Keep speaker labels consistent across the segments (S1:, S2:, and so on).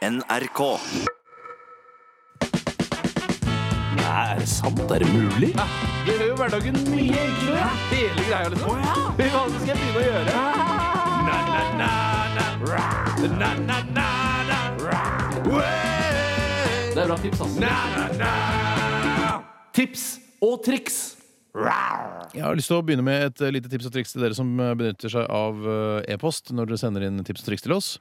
S1: NRK.
S2: Nei, er det sant? Er det mulig?
S3: Det gjør jo hverdagen mye enklere. Hele greia, liksom. Fy faen, så skal jeg begynne å gjøre. Na, na, na, na. Na, na, na, na. Det er bra tips, altså. ass. Na, na, na. Tips og triks.
S4: Jeg har lyst til å begynne med et eh, lite tips og triks til dere som eh, benytter seg av eh, e-post når dere sender inn tips og triks til oss.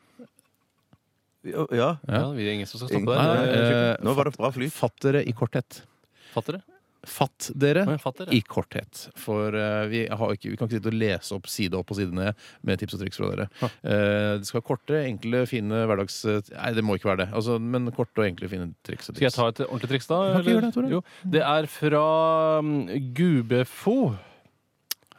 S5: Ja.
S4: Ja,
S3: vi er ingen som skal
S5: stoppe
S4: Nei, nei, eh,
S5: Nå var det bra flyt.
S4: Fatt dere i korthet.
S3: Fatter dere?
S4: Fatt dere
S3: Å, jeg fatter det.
S4: i korthet. For eh, vi, har ikke, vi kan ikke sitte og lese opp side opp og side ned med tips og triks fra dere. Eh, det skal være korte, enkle, fine hverdags... Nei, det må ikke være det. Altså, men korte og enkle, fine triks og
S3: Skal jeg
S4: triks.
S3: ta et ordentlig triks, da?
S4: Kan ikke
S3: eller?
S4: gjøre det, Tore.
S3: Jo, det er fra mm, Gubefo.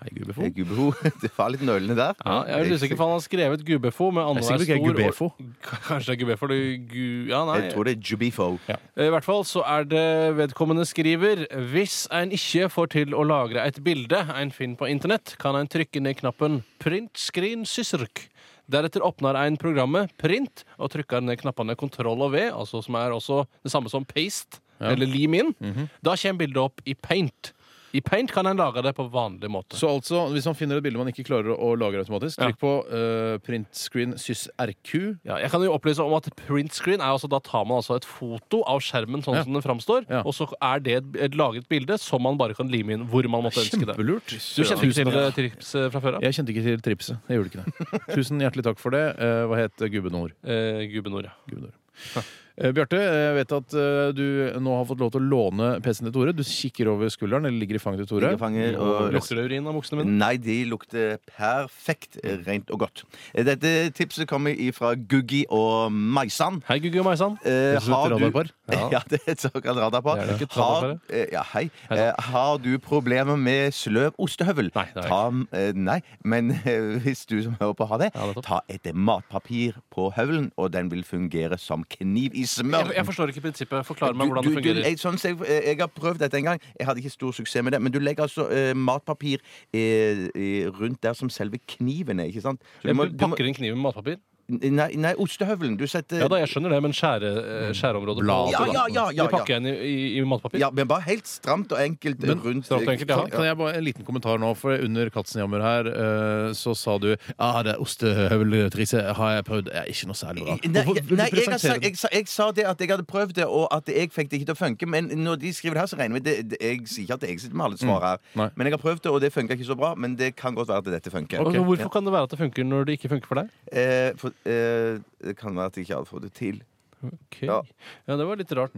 S4: Hei, Gubefo.
S5: Jeg er gubbeho. Det var litt nølende der.
S3: Ja, jeg er usikker på om han har skrevet Gubefo, men
S4: Det er
S3: annenhver
S4: sikkert ikke
S3: stor
S4: Gubefo.
S3: Kanskje det er Gubefo. Det er gu... Ja, nei.
S5: Jeg tror det er jubifo.
S3: Eh, I hvert fall så er det vedkommende skriver Hvis ein ikke får til å lagre et bilde ein finner på internett, kan ein trykke ned knappen 'print screen sysrk'. Deretter åpner ein programmet 'print' og trykker ned knappene 'kontroll' og 'v', altså som er også det samme som 'paste' eller 'lim inn'.
S4: Mhm.
S3: Da kommer bildet opp i paint. I paint kan en lage det på vanlig måte.
S4: Så altså, hvis man finner et bilde man ikke klarer å lagre automatisk,
S3: Ja.
S4: trykk på eh, print screen sys rq.
S3: Ja, jeg kan jo opplyse om at print screen er altså, Da tar man altså et foto av skjermen sånn
S4: Ja.
S3: som den framstår,
S4: Ja.
S3: og så er det et, et lagret bilde som man bare kan lime inn hvor man måtte ønske det.
S4: Kjempelurt.
S3: Du kjenner ikke til eh, trips eh, fra før av?
S4: Jeg kjente ikke til tripset. Jeg gjorde ikke det. Tusen hjertelig takk for det. Eh, Hva het gubbenord?
S3: Eh, Gubbenord, ja.
S4: Gubbenord. Eh, Bjarte, jeg vet at eh, du nå har fått lov til å låne PC-en til Tore. Du kikker over skulderen, eller ligger i fanget til Tore.
S5: Ligger i fanget, og-
S3: Lukter det urin av buksene mine?
S5: Nei, de lukter perfekt rent og godt. Eh, Dette tipset kommer ifra Guggi og Maisan.
S3: Hei, Gugge og Maisan.
S5: Eh,
S4: Det er et radarpar.
S5: Ja. det er et såkalt radarpar.
S3: Det er det.
S5: Har, eh, ja, hei. Eh, har du problemer med sløv ostehøvel?
S3: Nei, det har jeg
S5: ta, eh, nei. men eh, hvis du som hører på har det,
S3: Ja, nettopp.
S5: ta et matpapir på høvelen, og den vil fungere som kniv i smør.
S3: Jeg, jeg forstår ikke prinsippet. Forklar meg hvordan det
S5: Du- du- du-
S3: fungerer.
S5: jeg, sånn, som jeg, jeg har prøvd dette en gang. Jeg hadde ikke stor suksess med det. Men du legger altså eh, matpapir eh, eh, rundt der som selve kniven er. ikke sant? Så du
S3: Jeg
S5: må- du må-
S3: pakker inn kniven med matpapir.
S5: nei, nei, ostehøvelen. Du setter
S3: Ja da, jeg skjønner det, men skjære, eh,
S4: Mm.
S3: skjæreområdet på
S4: Bladet,
S5: Ja, ja, ja, ja,
S3: Det pakker jeg inn i, i, i matpapir.
S5: Ja, men bare helt stramt og enkelt rundt
S3: stramt og enkelt, ja.
S4: Kan, kan jeg bare En liten kommentar nå, for under Katzenjammer her eh, så sa du ah, det ostehøveltrikset har jeg prøvd. Jeg er ikke noe særlig bra.
S5: Nei,
S4: Hvorfor- hvorfor
S5: nei jeg, har
S4: presenterer
S5: sagt,
S4: du-
S5: jeg, sa, jeg sa det at jeg hadde prøvd det, og at jeg fikk det ikke til å funke. Men når de skriver det her, så regner vi det, det, Jeg sier ikke at jeg sitter med alle svar her.
S4: Mm. Nei.
S5: Men jeg har prøvd det, og det funka ikke så bra. Men det kan godt være at dette funker.
S3: Altså, hvorfor kan det være at det funker når det ikke funker for deg?
S5: Eh, for, eh, det kan være at jeg ikke hadde fått det til.
S4: Mm,
S3: Ok.
S5: Ja.
S3: Ja, det var litt rart.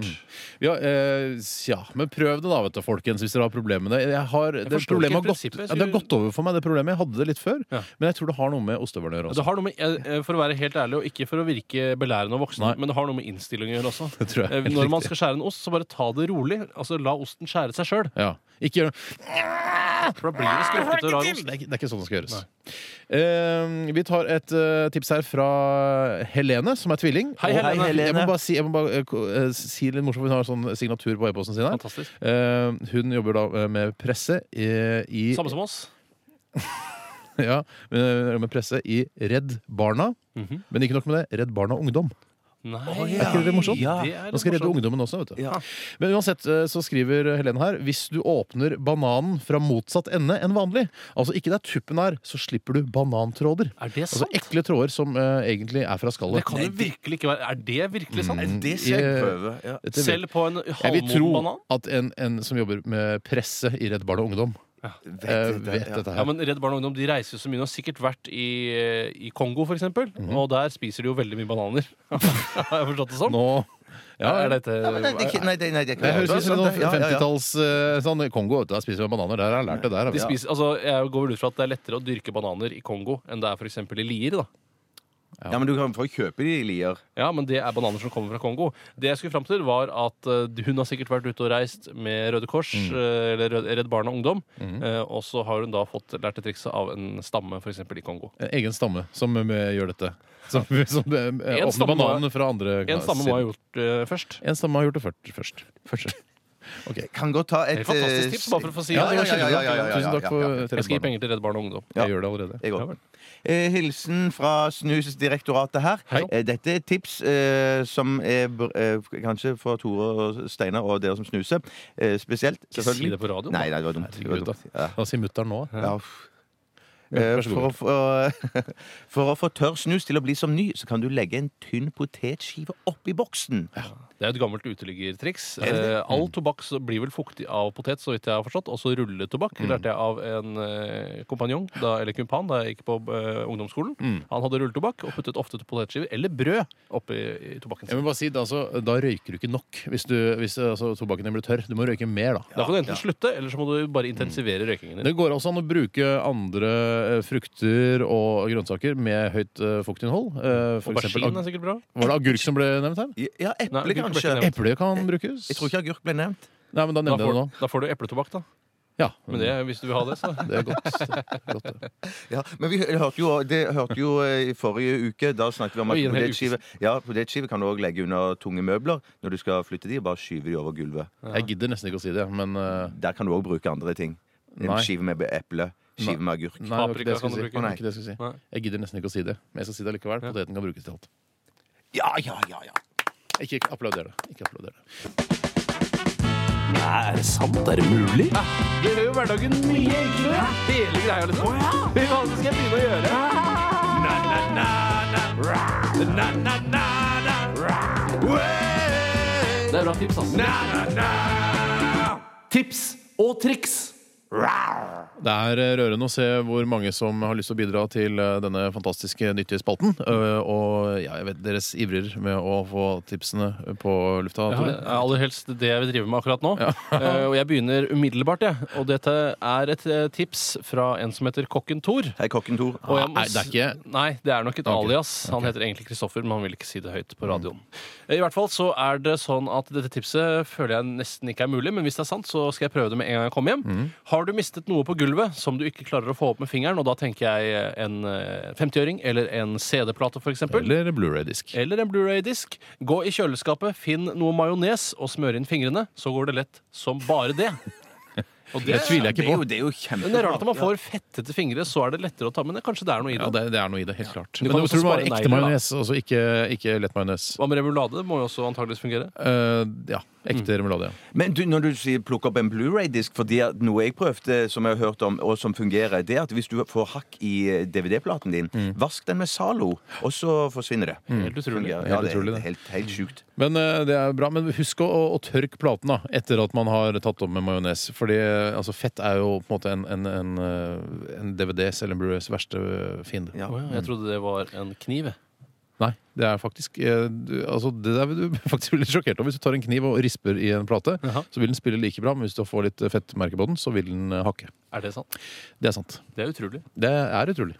S4: Ja, eh, ja, men prøv det da, vet du, folkens, hvis dere har problemer med det. Jeg har, det,
S3: forstår
S4: problemet
S3: ikke
S4: har gått,
S3: prinsippet,
S4: ja,
S3: så-
S4: det har gått over for meg, det problemet. Jeg hadde det litt før,
S3: Ja.
S4: men jeg tror det har noe med ostehøvelen å gjøre
S3: Det
S4: også.
S3: har noe med, eh, eh, for å være helt ærlig, og ikke for å virke belærende og voksen,
S4: Nei.
S3: men det har noe med innstilling å gjøre også.
S4: Det tror jeg er
S3: Eh,
S4: helt
S3: Når man
S4: riktig.
S3: skal skjære en ost, så bare ta det rolig. Altså, La osten skjære seg sjøl.
S4: Ja. Ikke gjør noe.
S3: For da blir det skrukkete og rar
S4: Det
S3: ost.
S4: er, ikke- det er ikke sånn det skal gjøres. Eh, vi tar et eh, tips her fra Helene, som er tvilling.
S3: Hei,
S4: Og-
S3: Helene. Hei,
S5: Helene.
S4: Jeg må bare si, jeg må bare, eh, ko- eh, si litt morsomt, hun har sånn signatur på e-posten sin her.
S3: Fantastisk.
S4: Eh, hun jobber da eh, med presse i, i
S3: Samme som oss.
S4: Ja, eh, med, med presse i Redd Barna. Men ikke nok med det. Redd Barna Ungdom.
S3: Nei,
S5: ja.
S4: Er ikke det morsomt?
S5: Ja.
S3: Det er
S4: Nå skal jeg redde
S3: morsomt.
S4: ungdommen også, vet du.
S5: Ja.
S4: Men uansett eh, så skriver Helene her hvis du åpner bananen fra motsatt ende enn vanlig, altså ikke der tuppen er, så slipper du banantråder.
S3: Er det
S4: Altså
S3: sant?
S4: ekle tråder som eh, egentlig er fra
S3: Det
S4: skallet.
S3: kan jo virkelig ikke være Er det virkelig sant?
S5: Det skal jeg
S4: Eh,
S5: prøve. Ja.
S4: Dette vet-
S3: Selv på en
S4: jeg vil
S3: halvmoden
S4: tro
S3: banan?
S4: at en, en som jobber med presse i Redd Barn og Ungdom,
S5: Vet
S4: eh,
S5: dette,
S4: vet
S5: ja.
S4: dette
S3: Ja,
S4: her.
S3: men Redd Barn og Ungdom de reiser jo så mye. De har sikkert vært i, eh, i Kongo, f.eks. eksempel
S4: Mhm.
S3: Og der spiser de jo veldig mye bananer. Har jeg forstått det sånn?
S4: Nå
S3: Ja,
S4: ja,
S3: er dette
S5: Ja, men nei, det er ikke- nei, det- nei, det er ikke-
S4: Det høres
S5: Ja,
S4: ut som
S5: sant,
S4: en
S5: ja, ja, ja.
S4: 50-talls eh, sånn, Kongo. vet du, Der spiser man bananer. Der har jeg lært det der.
S3: De
S4: vet du.
S3: spiser, altså, jeg går vel ut fra at det er lettere å dyrke bananer i Kongo enn det er for eksempel i Lier. da
S5: Ja, men du kan få kjøpe de i Lier.
S3: Ja, men det er bananer som kommer fra Kongo. Det jeg skulle fram til, var at eh, hun har sikkert vært ute og reist med Røde Kors,
S5: Mm.
S3: eh, eller Rød- Redd Barna Ungdom, eh, og så har hun da fått lært det trikset av en stamme, for eksempel i Kongo.
S4: En egen stamme som eh, gjør dette. Som, som eh, åpner
S3: stamme-
S4: bananene fra andre
S3: En stamme må ha
S4: siden.
S3: gjort eh, først.
S4: En stamme har gjort det først. først. Ok.
S5: Kan godt ta et
S3: Et fantastisk
S5: eh,
S3: tips, bare for å få si
S5: ja,
S3: det.
S5: ja, ja, ja, ja, ja, ja, ja,
S4: Tusen takk for
S5: ja, ja.
S4: Redd
S3: Jeg skal gi
S4: Barna.
S3: penger til Redd Barn og Ungdom.
S4: Jeg gjør det allerede.
S5: Det er godt.
S4: Ja vel.
S5: Eh, Hilsen fra Snusdirektoratet her.
S4: Hei.
S5: Eh, Dette er et tips eh, som er br- eh, kanskje for Tore og Steinar og dere som snuser. Eh, spesielt,
S3: Ikke si det
S5: selvfølgelig.
S3: på radio.
S5: Nei, nei, det var dumt. Det var
S4: Herregud,
S5: dumt.
S4: da.
S5: Ja.
S4: Da sier mutter'n nå.
S5: Ja. uff.
S4: Vær
S5: Eh,
S4: så god.
S5: For å, få, for å få tørr snus til å bli som ny, så kan du legge en tynn potetskive oppi boksen.
S3: Det er et gammelt uteliggertriks.
S5: Er det det? Mm.
S3: Eh, all tobakk så blir vel fuktig av potet, så vidt jeg har forstått. Også rulletobakk
S5: Mm.
S3: lærte jeg av en eh, kompanjong, da, eller kumpan, da jeg gikk på eh, ungdomsskolen.
S5: Mm.
S3: Han hadde rulletobakk og puttet ofte potetskiver eller brød oppi i tobakken
S4: Jeg
S3: sin.
S4: vil bare si, da, altså, da røyker du ikke nok hvis, du, hvis altså, tobakken din blir tørr. Du må røyke mer, da.
S3: Da kan du enten slutte, eller så må du bare intensivere røykingen din.
S4: Det går også an å bruke andre eh, frukter og grønnsaker med høyt eh, fuktinnhold. Eh, For eksempel,
S3: Aubergine er
S4: ag-
S3: sikkert bra.
S4: var det agurk som ble nevnt her?
S5: Ja,
S3: Nei,
S5: eple,
S3: det blir ikke
S5: kanskje.
S3: nevnt.
S4: Eple kan brukes.
S5: Jeg tror ikke agurk ble nevnt.
S4: Nei, men da
S3: Da
S4: nevnte jeg
S3: får,
S4: det nå.
S3: da får du epletobakk, da.
S4: Ja,
S3: Men det, hvis du vil ha det, så.
S4: det er godt. Det er godt. det.
S5: Ja, men vi hørte jo, det hørte jo eh, i forrige uke. Da snakket vi om
S3: Oi,
S5: at
S3: en hel
S5: potetskive ja, potetskive kan du òg legge under tunge møbler når du skal flytte de, og bare skyve de over gulvet.
S4: Jeg gidder nesten ikke å si det, men eh,
S5: Der kan du òg bruke andre ting. En
S4: Nei.
S5: skive med eple, skive med agurk.
S4: Nei, det var ikke
S3: Paprika
S4: det jeg
S3: kan du
S4: skulle si.
S3: bruke.
S4: Det var ikke det jeg skulle
S3: Nei.
S4: si. Jeg gidder nesten ikke å si det, men jeg skal si det likevel. Poteten kan brukes til alt.
S5: Ja, ja, ja, ja.
S4: Ikke ikke applauder det. Ikke applauder det.
S2: Nei, er det sant? Er det mulig?
S3: Det gjør jo hverdagen mye enklere. Hele greia, liksom. Hva skal jeg begynne å gjøre? Det er bra tips, ass. Tips og triks.
S4: Det er eh, rørende å se hvor mange som har lyst til å bidra til eh, denne fantastiske nyttige spalten. Eh, Og ja, jeg vet deres ivrer med å få tipsene eh, på lufta.
S3: Det
S4: Tore.
S3: er aller helst det jeg vil drive med akkurat nå. Eh, og jeg begynner umiddelbart, jeg. Og dette er et eh, tips fra en som heter Kokken Thor.
S5: Hei, kokken Tor.
S3: Og jeg må
S4: Ah, Nei, det er ikke-
S3: s- Nei, det er nok et
S4: Ok. Mm.
S3: alias. Han heter egentlig Kristoffer, men han vil ikke si det høyt på radioen. Eh, I hvert fall så er det sånn at dette tipset føler jeg nesten ikke er mulig, men hvis det er sant, så skal jeg prøve det med en gang jeg kommer hjem.
S4: Mm.
S3: Har du mistet noe på gulvet som du ikke klarer å få opp med fingeren, og da tenker jeg en eh, 50-øring eller en CD-plate, for eksempel
S4: Eller Blu-ray-disk.
S3: eller en Blu-ray-disk. Gå i kjøleskapet, finn noe majones og smør inn fingrene, så går det lett som bare det. Og
S4: Det tviler jeg ikke
S5: Det er
S4: på.
S5: jo, det er jo
S3: Men det er
S5: kjempebra.
S3: rart at man får fettete fingre, så er det lettere å ta. Men det, kanskje det er noe i
S4: Ja,
S3: det.
S4: det, det er noe i det, helt klart.
S3: Du
S4: Men
S3: kan
S4: jeg
S3: også
S4: tror det var
S3: spare
S4: ekte
S3: negler, da.
S4: majones, altså ikke, ikke lett majones.
S3: Hva med remulade? Det må jo også antageligvis fungere.
S4: Eh, ja. Ekte remulade. ja.
S5: Men du, når du sier plukke opp en Blu-ray-disk Fordi at noe jeg prøvde, som jeg har hørt om, og som fungerer, det er at hvis du får hakk i eh, DVD-platen din, vask den med Zalo, og så forsvinner det.
S3: Helt Mm. utrolig.
S5: Fungerer.
S4: Mm. Helt
S5: Ja, det er
S4: utrolig,
S5: helt,
S4: det.
S5: helt, helt sjukt.
S4: Men eh, det er bra, men husk å, å tørke platen da, etter at man har tatt opp med majones. Fordi eh, altså, fett er jo på en måte en, en, en, eh, en DVDs eller en Blu-rays verste eh, fiende.
S5: Ja.
S3: Å ja, Jeg trodde det var en kniv. jeg.
S4: Nei, det er faktisk eh, du, altså, Det der vil du faktisk bli litt sjokkert over. Hvis du tar en kniv og risper i en plate,
S3: Jaha.
S4: så vil den spille like bra, men hvis du får litt eh, fettmerke på den, så vil den eh, hakke.
S3: Er det sant?
S4: Det er sant.
S3: Det er utrolig.
S4: Det er utrolig.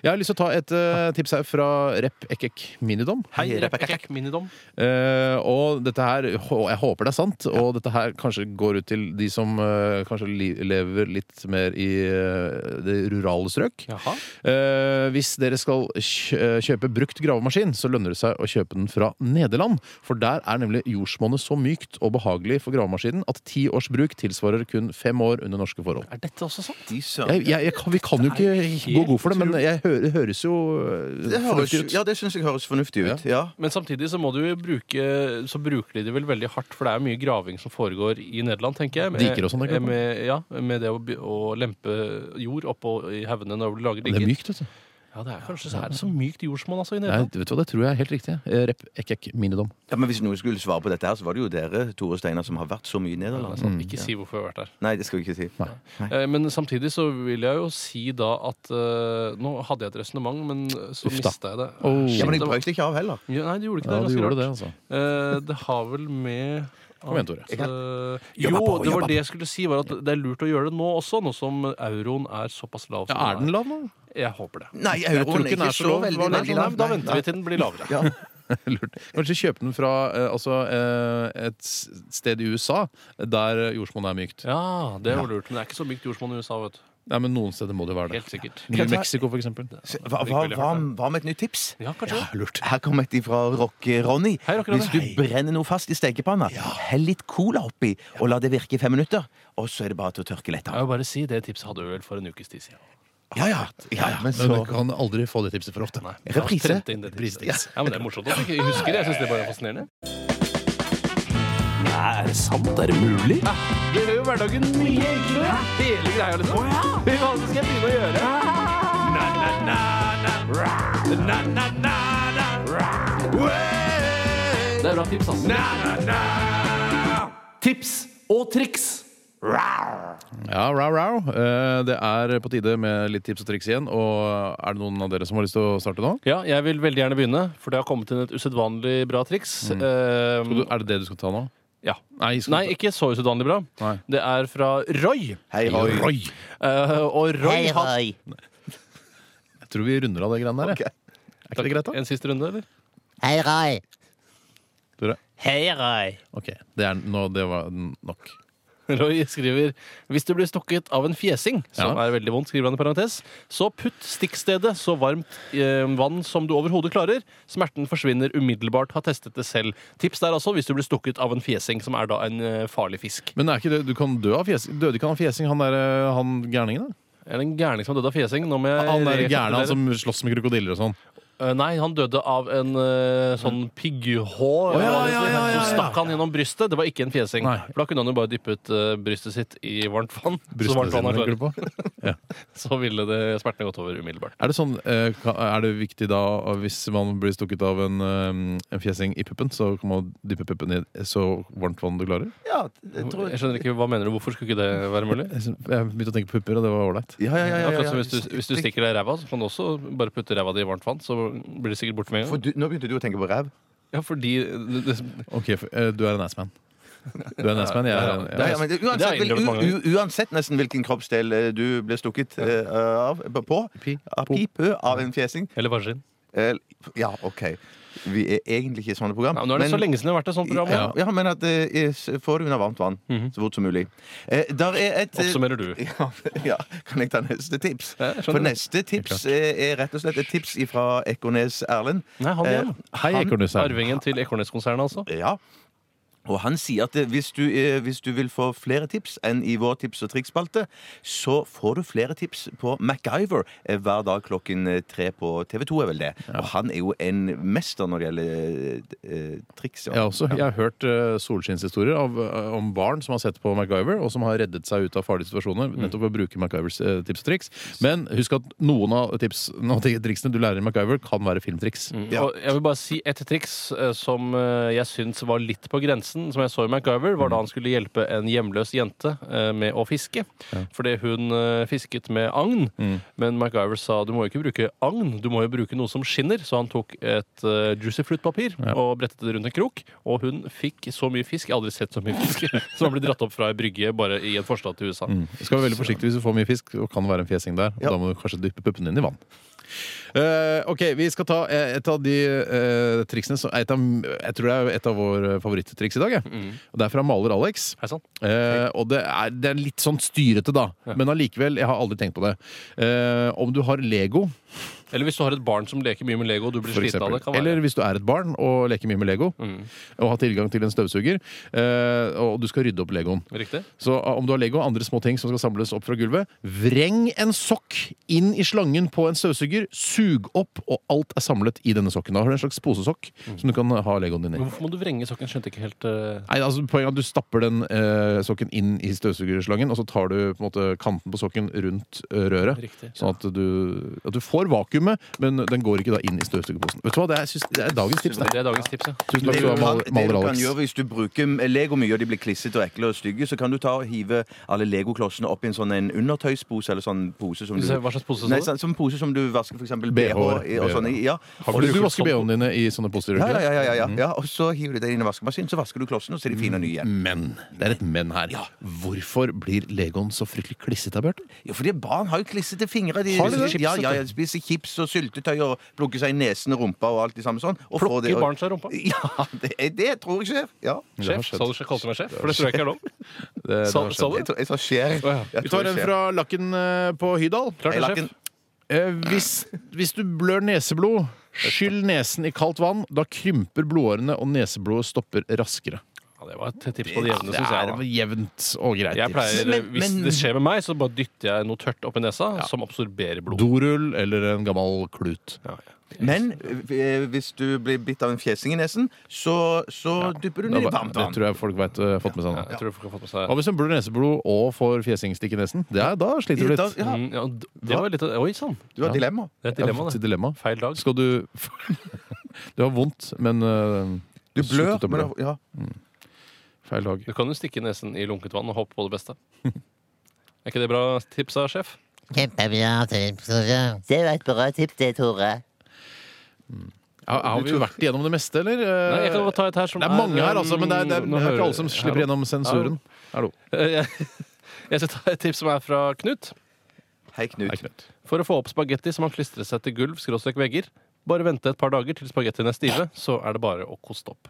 S4: Jeg har lyst til å ta et eh, tips her fra Rep Ekek Minidom.
S3: Hei,
S5: Hei,
S3: repekekk, minidom.
S4: Eh, og dette her, hå- jeg håper det er sant, og dette her kanskje går ut til de som eh, kanskje li lever litt mer i eh, det rurale strøk.
S3: Jaha.
S4: Eh, hvis dere skal kj eh, kjøpe brukt gravemaskin, så lønner det seg å kjøpe den fra Nederland. For der er nemlig jordsmonnet så mykt og behagelig for gravemaskinen at ti års bruk tilsvarer kun fem år under norske forhold.
S3: Er dette også sant?
S5: De søren.
S4: Jeg, jeg, jeg, kan- vi kan jo
S3: Det er
S4: ikke gå
S3: helt
S4: god for det, men jeg hø det høres jo eh,
S5: Det høres,
S4: fornuftig ut.
S5: ja, det syns jeg høres fornuftig ut. Ja.
S3: Men samtidig så må du jo bruke Så bruker de det vel veldig hardt, for det er jo mye graving som foregår i Nederland, tenker jeg.
S4: Diker og sånn, det kan man.
S3: med, ja, med det å, by- å lempe jord oppå i haugene når du lager
S4: Men Det
S3: diker.
S4: er mykt, vet du.
S3: Ja, det er kanskje så, er det så mykt jordsmonn altså, i
S4: Nei,
S3: Nederland.
S4: vet du hva, det tror jeg er helt riktig. Eh, Rep Ekek Minidom.
S5: Ja, men Hvis noen skulle svare på dette, her, så var det jo dere Tore og Steinar, som har vært så mye i
S3: Ja, det er
S5: Nederland.
S3: sant. Ikke si hvorfor jeg har vært der.
S5: Nei, det skal vi ikke si.
S3: Eh, Men samtidig så vil jeg jo si da at eh, Nå hadde jeg et resonnement, men så
S4: Uff da.
S3: mista jeg det.
S4: Oh.
S3: Shit,
S5: Ja, Men
S3: det
S5: jeg
S3: var-
S5: brøt ikke av heller.
S3: Ja, Nei, du gjorde ikke
S4: Ja,
S3: det.
S4: du
S3: ganske
S4: gjorde
S3: rart.
S4: det, altså.
S3: Eh, det har vel med
S4: Kom igjen, Tore.
S3: at, eh,
S2: Jobba
S3: jo,
S2: på,
S3: det
S2: jobba
S3: var det jeg skulle si, var at det er lurt å gjøre det nå også, nå som euroen er såpass lav.
S4: Ja,
S3: som
S4: er den lav nå?
S3: Jeg håper det.
S5: Nei,
S4: tror
S5: euroen
S4: ikke
S5: er
S4: den er
S5: ikke
S4: så
S5: så
S4: lov.
S5: veldig,
S3: Nei,
S5: veldig
S3: nei,
S5: lav.
S3: da venter vi
S5: Nei,
S3: til den blir lavere.
S5: Ja.
S4: Lurt. Kanskje kjøpe den fra eh, altså, eh, et s- sted i USA der jordsmonnet er mykt.
S3: Ja, det var lurt. Men det er ikke så mykt jordsmonn i USA, vet du.
S4: Nei, men Noen steder må det være det.
S3: Helt sikkert.
S4: New Mexico, for eksempel.
S5: Hva, hva, hva, hva med et nytt tips?
S3: Ja, kanskje.
S5: Lurt. Her kommer et fra Rock-Ronny.
S3: Hei, Rock Ronny.
S5: Hvis du brenner noe fast i stekepanna, hell litt cola oppi og la det virke i fem minutter. Og så er det bare til å tørke lett
S3: Jeg
S5: av.
S3: vil bare si, Det tipset hadde vi vel for en ukes tid siden.
S5: Ja, ja. ja, ja.
S4: Men
S5: Men så
S4: du kan aldri få det tipset for ofte.
S3: Nei, vi har
S5: Reprise.
S3: trent inn det tipset.
S4: Reprisetips.
S3: Ja, men Det er morsomt at du ikke husker det. Jeg synes det bare er fascinerende.
S2: Nei, er det sant? Er det mulig?
S3: Det gjør jo hverdagen mye enklere. Hele greia, liksom. Fy faen, så skal jeg begynne å gjøre? Na, na, na, na. Na, na, na, na. Det er bra tips, ass. Na, na, na. Tips og triks.
S4: Ja, rau, rau. Eh, Det er på tide med litt tips og triks igjen. Og er det noen av dere som har lyst til å starte nå?
S3: Ja, jeg vil veldig gjerne begynne, for det har kommet inn et usedvanlig bra triks.
S2: Mm.
S3: Ehm,
S4: Skal du- Er det det du skal ta nå?
S3: ja.
S4: Nei, skal
S3: Nei, ikke så usedvanlig bra.
S4: Nei.
S3: Det er fra Roy.
S5: Hei, hoi.
S4: Roy.
S3: Eh, og Roy har
S4: Jeg tror vi runder av det greiene der. jeg. Er ikke det greit, da?
S3: en siste runde, eller?
S1: Hei, Rai.
S4: Tore?
S1: Hei, Rai.
S4: Ok, det, er, nå, det var nok.
S3: Roy skriver Hvis du blir stukket av en fjesing, som
S4: Ja.
S3: er veldig vondt, skriver han i parentes, så putt stikkstedet så varmt eh, vann som du overhodet klarer. Smerten forsvinner umiddelbart. Har testet det selv. Tips der altså hvis du blir stukket av en fjesing, som er da en eh, farlig fisk.
S4: Men er ikke det, du kan dø av fjesing. Døde ikke han av fjesing, han, der, eh, han gærningen? da?
S3: Er det en gærning som døde av fjesing? Nå må jeg
S4: Han der
S3: rekapitulere.
S4: gærne han som slåss med krokodiller og sånn.
S3: Eh, Nei, han døde av en eh, sånn pigghå
S4: Mm. ja, ja, ja, ja, ja.
S3: som stakk han gjennom brystet. Det var ikke en fjesing.
S4: Nei.
S3: For da kunne han jo bare dyppet eh, brystet sitt i varmt vann. så
S4: Brystene
S3: varmt vann
S4: sine,
S3: han klarer.
S4: tenker du på?
S3: Så ville det smertene gått over umiddelbart.
S4: Er det, sånn, eh, ka- er det viktig da hvis man blir stukket av en, eh, en fjesing i puppen, så kan man dyppe puppen i så varmt vann du klarer?
S5: Ja, det tror
S3: Jeg
S5: jeg.
S3: skjønner ikke, Hva mener du? Hvorfor skulle ikke det være mulig?
S4: Jeg syn- jeg begynte å tenke på pupper, og det var ålreit.
S5: Ja, ja, ja, ja, ja,
S3: Akkurat
S5: ja.
S3: som hvis du, hvis du stikker deg i ræva, så kan du også bare putte ræva di i varmt vann. Så blir det sikkert borte med en
S5: For
S3: gang.
S5: du, nå begynte du å tenke på ræv.
S3: Ja, fordi det, det,
S4: Ok, for, eh, du er en assman. Du er en assman, jeg er en
S3: Ja,
S5: Ja,
S4: ja.
S5: ja, men det,
S3: Det har
S5: uansett,
S3: jeg innrømt mange
S5: vel, u, u, uansett nesten hvilken kroppsdel eh, du blir stukket eh, av, på
S4: Pi.
S5: av, pi, pø, av en fjesing
S3: eller vagin.
S5: Eh, Ja, OK. Vi er egentlig ikke i sånne program.
S3: Ja, nå er det
S5: men-
S3: så lenge siden det har vært et sånt program.
S5: Ja, ja, men at eh, is- får det under varmt vann så fort som mulig. Eh, der er et eh,
S3: Mhm. Oppsummerer du.
S5: Ja, ja, kan jeg ta neste tips?
S3: Ja, skjønner.
S5: For neste tips eh, er rett og slett et tips fra Ekornes Erlend.
S3: Nei, han igjen.
S4: Eh, Hei, Ekornes her.
S3: Arvingen til Ekornes-konsernet, altså.
S5: Ja. Og han sier at eh, hvis du, eh, hvis du vil få flere tips enn i vår tips- og triksspalte, så får du flere tips på MacGyver eh, hver dag klokken eh, tre på TV 2, er vel det. Og han er jo en mester når det gjelder eh, triks.
S4: Jeg, har også, jeg har hørt eh, solskinnshistorier av, eh, om barn som har sett på MacGyver, og som har reddet seg ut av farlige situasjoner nettopp ved å bruke MacGyvers eh, tips og triks. Men husk at noen av tips, noen av de triksene du lærer i MacGyver, kan være filmtriks.
S5: Ja.
S3: Og jeg vil bare si et triks eh, som eh, jeg syns var litt på grensen, som jeg så i MacGyver, var
S4: Mm.
S3: da han skulle hjelpe en hjemløs jente eh, med å fiske. Fordi hun eh, fisket med agn,
S4: Mm.
S3: men MacGyver sa du må jo ikke bruke agn, du må jo bruke noe som skinner. Så han tok et eh, juicy fruit-papir og brettet det rundt en krok, og hun fikk så mye fisk. Jeg har aldri sett så mye fisk som har blitt dratt opp fra ei brygge bare i en forstad til USA.
S4: Du Mm. skal være veldig forsiktig hvis du får mye fisk, og kan være en fjesing der. Og
S5: Ja.
S4: Da må du kanskje dyppe puppene dine i vann. Eh, ok, Vi skal ta eh, et av de eh, triksene som er et av, Jeg tror det er et av våre favoritttriks i dag. jeg.
S3: Mm.
S4: Og Det er fra maler Alex.
S3: Hei sann.
S4: Eh, og det er, det er litt sånn styrete, da. Men allikevel, jeg har aldri tenkt på det. Eh, om du har Lego,
S3: Eller hvis du har et barn som leker mye med Lego og du blir
S4: for
S3: sliten av
S4: eksempel.
S3: det. kan være. Mm.
S4: Eller hvis du er et barn og leker mye med Lego, og har tilgang til en støvsuger, eh, og du skal rydde opp Legoen.
S3: Riktig?
S4: Så eh, om du har Lego og andre små ting som skal samles opp fra gulvet, vreng en sokk inn i slangen på en støvsuger, sug opp, og alt er samlet i denne sokken. Da har du en slags posesokk som du kan eh, ha Legoen din i.
S3: Men Hvorfor må du vrenge sokken? Skjønte ikke helt eh,
S4: Nei, altså Poenget er at du stapper den eh, sokken inn i støvsugerslangen, og så tar du på en måte kanten på sokken rundt eh, røret.
S3: Riktig.
S4: Sånn at du, at du får vakuumet, men den går ikke da inn i støvsugerposen. Vet du hva, Det er, synes, det er dagens tips. Det.
S3: Det er dagens tips, ja.
S4: Tusen takk
S5: Det
S4: skal
S5: du
S4: du ha,
S5: kan,
S4: Mal-
S5: det du
S4: Maler
S5: kan
S4: Alex.
S5: gjøre hvis du bruker Lego mye og de blir klissete og ekle og stygge, så kan du ta og hive alle legoklossene opp i en sånn en undertøyspose eller sånn pose som du
S3: Så hva slags pose sa
S5: Nei,
S3: du?
S5: sånn, sånn pose som du vasker f.eks.
S4: BH,
S5: BH i, og sånn i. Ja.
S4: Har du, du vasker BH-ene dine i sånne poser?
S5: Ja,
S4: gjør
S5: ja,
S4: du ikke det?
S5: ja, ja, ja. ja. Og så hiver du det inn i vaskemaskinen, så vasker du klossen, og så er de fine
S4: Mm.
S5: og nye igjen.
S4: Men det er et men her. Hvorfor blir Legoen så fryktelig klissete, Bjarte?
S5: Jo, fordi barn har jo klissete fingre. De,
S4: Har de det? sånn.
S5: Ja, ja, ja, de spiser chips chips og syltetøy og plukke seg i nesen og rumpa og alt det samme sånn. Og få det,
S3: Plukker
S5: og-
S3: barn seg i rumpa?
S5: Ja, det, er- det tror jeg, sjef. Ja.
S4: har
S3: Sjef?
S4: skjedd.
S3: Sa du ikke kalte meg sjef? For det tror jeg ikke er lov.
S4: Det, det
S3: Sa-
S4: har skjedd.
S3: sa du?
S5: Jeg, tror, jeg sa skjer.
S3: Å, ja.
S5: Jeg
S4: Vi
S5: tror
S4: tar
S5: jeg
S4: en
S5: skjer.
S4: fra Lakken eh, på Hydal.
S3: Klart
S5: Jeg
S3: det,
S5: lakk
S3: sjef.
S5: en-
S4: Eh, hvis, hvis du blør neseblod, skyll nesen i kaldt vann. Da krymper blodårene, og neseblodet stopper raskere.
S3: Ja, det var et tips på det jevne,
S4: Det
S3: syns jeg.
S4: er
S3: da.
S4: jevnt og greit.
S3: Jeg
S4: tips.
S3: pleier, eh,
S5: Men-
S3: Hvis
S5: men-
S3: det skjer med meg, så bare dytter jeg noe tørt oppi nesa som absorberer blod.
S4: Dorull eller en gammel klut.
S3: Ja,
S5: Men eh, hvis du blir bitt av en fjesing i nesen, så, så dypper du ned i
S4: Det var-
S5: varmt
S4: det
S5: vann.
S4: tror jeg folk vet, eh, fått med seg. nå.
S3: Jeg tror folk har fått med seg
S4: Hva hvis en blør neseblod og får fjesingstikk i nesen? Det er, da sliter du
S5: Ja,
S4: litt.
S5: ja,
S3: Mm, ja, d- Det var litt av- Oi sann!
S5: du har dilemma.
S3: Det er et
S4: Jeg har
S3: dilemma,
S4: fått et
S3: det.
S4: dilemma.
S3: Feil dag.
S4: Skal du Du har vondt, men eh,
S5: Du
S4: sluttet
S5: blør.
S4: å
S5: Men,
S4: blø.
S5: da- ja.
S4: Feil dag.
S3: Du kan jo stikke nesen i lunket vann og håpe på det beste. Er ikke det bra tips, da, sjef?
S1: Kjempebra tips, Tore. Det var et bra tips, det, Tore.
S4: Har, har vi vært igjennom det meste, eller? eh?
S3: Nei, jeg kan godt ta et her som
S4: Det er mange her, altså, men det er, det er,
S3: Nå
S4: det er
S3: hører-
S4: ikke alle som slipper gjennom sensuren. Hallo.
S3: Jeg jeg skal ta et tips som er fra Knut.
S5: Hei, Knut.
S4: Nei, Knut.
S3: For å få opp spagetti som har klistret seg til gulv, skråstrek vegger, bare vente et par dager til spagettiene er stive, så er det bare å koste opp.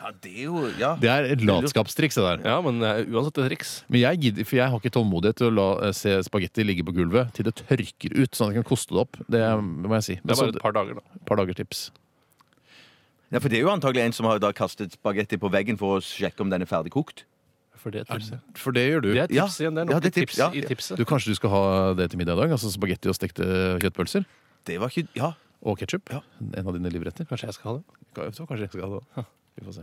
S5: Ja, det er jo ja.
S4: Det er et latskapstriks, det der.
S3: Ja, men det er uansett et triks.
S4: Men jeg gidder, for jeg har ikke tålmodighet til å la eh, se spagetti ligge på gulvet til det tørker ut, sånn at jeg kan koste det opp. Det må jeg si.
S3: Det
S4: Men
S3: er
S4: så
S3: bare et par dager, da.
S4: et par dager tips.
S5: Ja, for det er jo antagelig en som har da kastet spagetti på veggen for å sjekke om den er ferdig kokt.
S3: For det er tipset.
S4: For det gjør du.
S3: Det er
S5: Ja.
S3: tips igjen. Det er
S5: Ja,
S3: nok
S5: det
S3: et
S5: er tips,
S3: tips
S5: ja.
S3: i tipset.
S4: Du, kanskje du skal ha det til middag i dag? Altså spagetti og stekte kjøttpølser?
S5: Det var ikke Ja.
S4: Og ketsjup? En av dine livretter?
S3: Kanskje jeg skal ha det?
S4: Ka- Jeg tror kanskje jeg skal ha det også. Vi får se.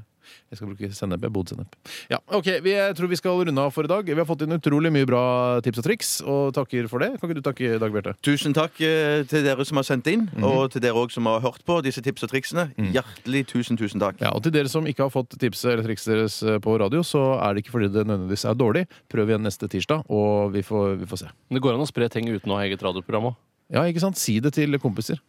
S4: Jeg skal bruke sennep. Jeg bodde sennep. Ja, ok, vi, Jeg tror vi skal runde av for i dag. Vi har fått inn utrolig mye bra tips og triks, og takker for det. Kan ikke du takke Dag Bjarte?
S5: Tusen takk eh, til dere som har sendt inn, og til dere også som har hørt på disse tips og triksene. Hjertelig tusen, tusen takk.
S4: Ja, og til dere som ikke har fått tipset eller trikset deres eh, på radio, så er det ikke fordi det nødvendigvis er dårlig. Prøv igjen neste tirsdag, og vi får, vi får se.
S3: Men det går an å spre ting uten å ha eget radioprogram òg.
S4: Ja, ikke sant? Si det til kompiser.